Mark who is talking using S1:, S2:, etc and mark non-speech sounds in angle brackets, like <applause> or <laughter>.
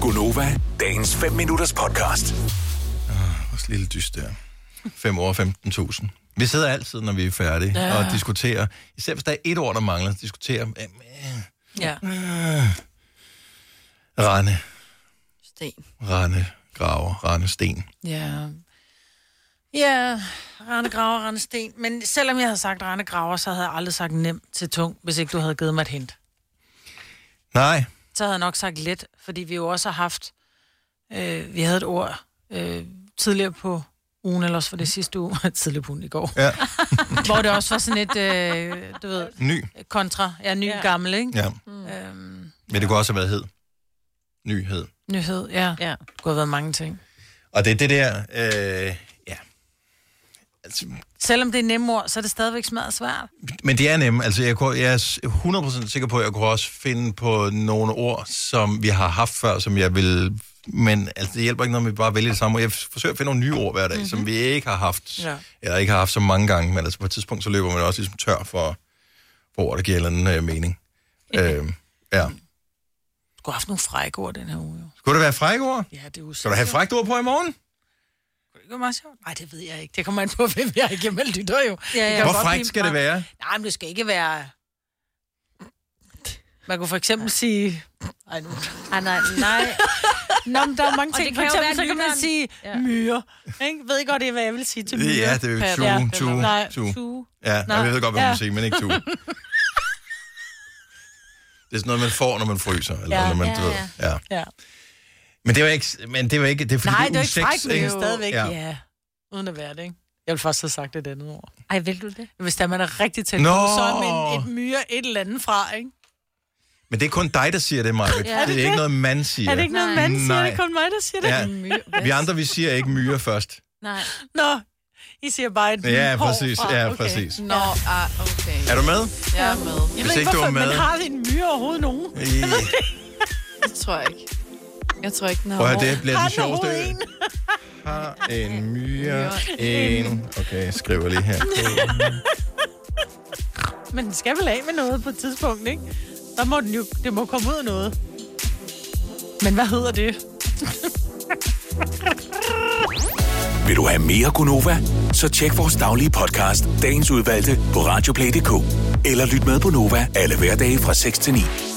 S1: Gunova, dagens 5 minutters podcast.
S2: Vores lille dyst der. 5 år 15.000. Vi sidder altid, når vi er færdige, ja. og diskuterer. Især hvis der er et ord, der mangler, diskuterer. Jamen, øh,
S3: Ja.
S2: Rane,
S3: Sten.
S2: Rane, Graver, Rane, Sten.
S3: Ja. Ja, Rane Graver, Rane Sten. Men selvom jeg havde sagt Rane Graver, så havde jeg aldrig sagt nem til tung, hvis ikke du havde givet mig et hint.
S2: Nej,
S3: Så havde jeg nok sagt let, fordi vi jo også har haft... Øh, vi havde et ord øh, tidligere på ugen, eller også for det sidste uge, <laughs> tidligere på ugen i går,
S2: ja,
S3: hvor det også var sådan et, øh, du ved,
S2: ny.
S3: kontra, ja, ny ja. gammel, ikke?
S2: Ja.
S3: Ja. Øhm,
S2: Men det kunne også have været hed. Nyhed.
S3: nyhed, ja. ja.
S4: Ja.
S3: Det kunne have været mange ting.
S2: Og det er det der, øh, ja. Altså,
S3: Selvom det er nemme ord, så er det stadigvæk smadret svært.
S2: men det er nemt. Altså, jeg, kunne, jeg er 100% sikker på, at jeg kunne også finde på nogle ord, som vi har haft før, som jeg vil... Men altså, det hjælper ikke noget, at vi bare vælger det samme. ord. Jeg forsøger at finde nogle nye ord hver dag, mm-hmm. som vi ikke har haft, ja.
S3: Ja.
S2: eller ikke har haft så mange gange. Men altså, på et tidspunkt, så løber man også ligesom tør for, for ord, der giver en eller anden øh, mening. øh, ja.
S3: Du kunne have haft nogle frække ord den her uge, jo.
S2: Skulle det være frække ord?
S3: Ja, det er jo
S2: Skal du have frækt ord på i morgen?
S3: Det var meget sjovt. Nej, det ved jeg ikke. Det kommer an på, <laughs> hvem jeg er igennem lytter jo. Ja, ja.
S2: Hvor frækt skal det være?
S3: Nej, men det skal ikke være... Man kunne for eksempel sige... Ej, nu.
S4: Ah, nej, nej. <laughs>
S3: Nå, men der er mange
S4: Og
S3: ting.
S4: det
S3: For
S4: kan
S3: eksempel,
S4: jo være
S3: så kan man
S4: lytteren.
S3: sige ja.
S4: Ja.
S3: myre. Ikke? Ved I godt, det er, hvad jeg vil sige til myre?
S2: Ja, det er jo
S3: Pat.
S2: tue,
S3: Ja,
S2: tue,
S3: det er- Nej,
S2: tue.
S3: tue.
S2: Ja,
S3: Nej.
S2: Nej. jeg ved godt, hvad man
S3: Ja.
S2: ja. siger, men ikke tue. Det er sådan noget, man får, når man fryser, eller ja,
S3: Ja,
S2: når man,
S4: ja,
S2: du ved, ja.
S3: Ja.
S2: Men det var ikke, men det var ikke, det er fordi,
S3: Nej,
S2: det
S3: det er
S2: uge
S3: ikke frækt,
S2: seks,
S3: men det er
S2: ikke?
S3: jo stadigvæk.
S2: Ja.
S3: Ja. ja. Uden at være det, ikke? Jeg vil faktisk have sagt et andet ord.
S4: Ej, vil du det?
S3: Hvis der man er rigtig tæt
S2: Nå.
S3: på, så er man et myre et eller andet fra, ikke?
S2: Men det er kun dig, der siger det, Maja. Ja,
S4: Ja. Er
S2: det,
S4: det
S2: det er ikke noget, man siger.
S3: Er det ikke noget,
S4: Nej.
S3: man siger?
S2: Mm, Nej.
S3: Det er kun mig, der siger det.
S2: Ja.
S4: Myre.
S2: Vi andre, vi siger ikke myre først.
S4: Nej.
S3: Nå, I siger bare et
S2: Ja,
S3: hår
S2: præcis.
S3: fra.
S2: Ja,
S3: Okay.
S2: præcis.
S5: Nå, ah, okay.
S2: Er du med?
S5: Jeg er med.
S3: Jeg
S2: Hvis
S3: ved ikke,
S2: ikke du
S3: hvorfor
S2: var
S3: man
S2: med-
S3: har en myre overhovedet nogen.
S2: I...
S5: Det tror jeg ikke. Jeg tror ikke, den har
S2: Prøv at
S5: hår.
S2: høre, det bliver
S3: Har
S2: den
S3: den
S2: sjoveste.
S3: overhovedet en?
S2: Har en
S3: <laughs>
S2: myre en... Okay, jeg skriver lige her.
S3: Men den skal vel af med noget på et tidspunkt, ikke? Der må den jo, det må komme ud af noget. Men hvad hedder det?
S1: Vil du have mere Gunova? Så tjek vores daglige podcast, dagens udvalgte, på radioplay.dk. Eller lyt med på Nova alle hverdage fra 6 til 9.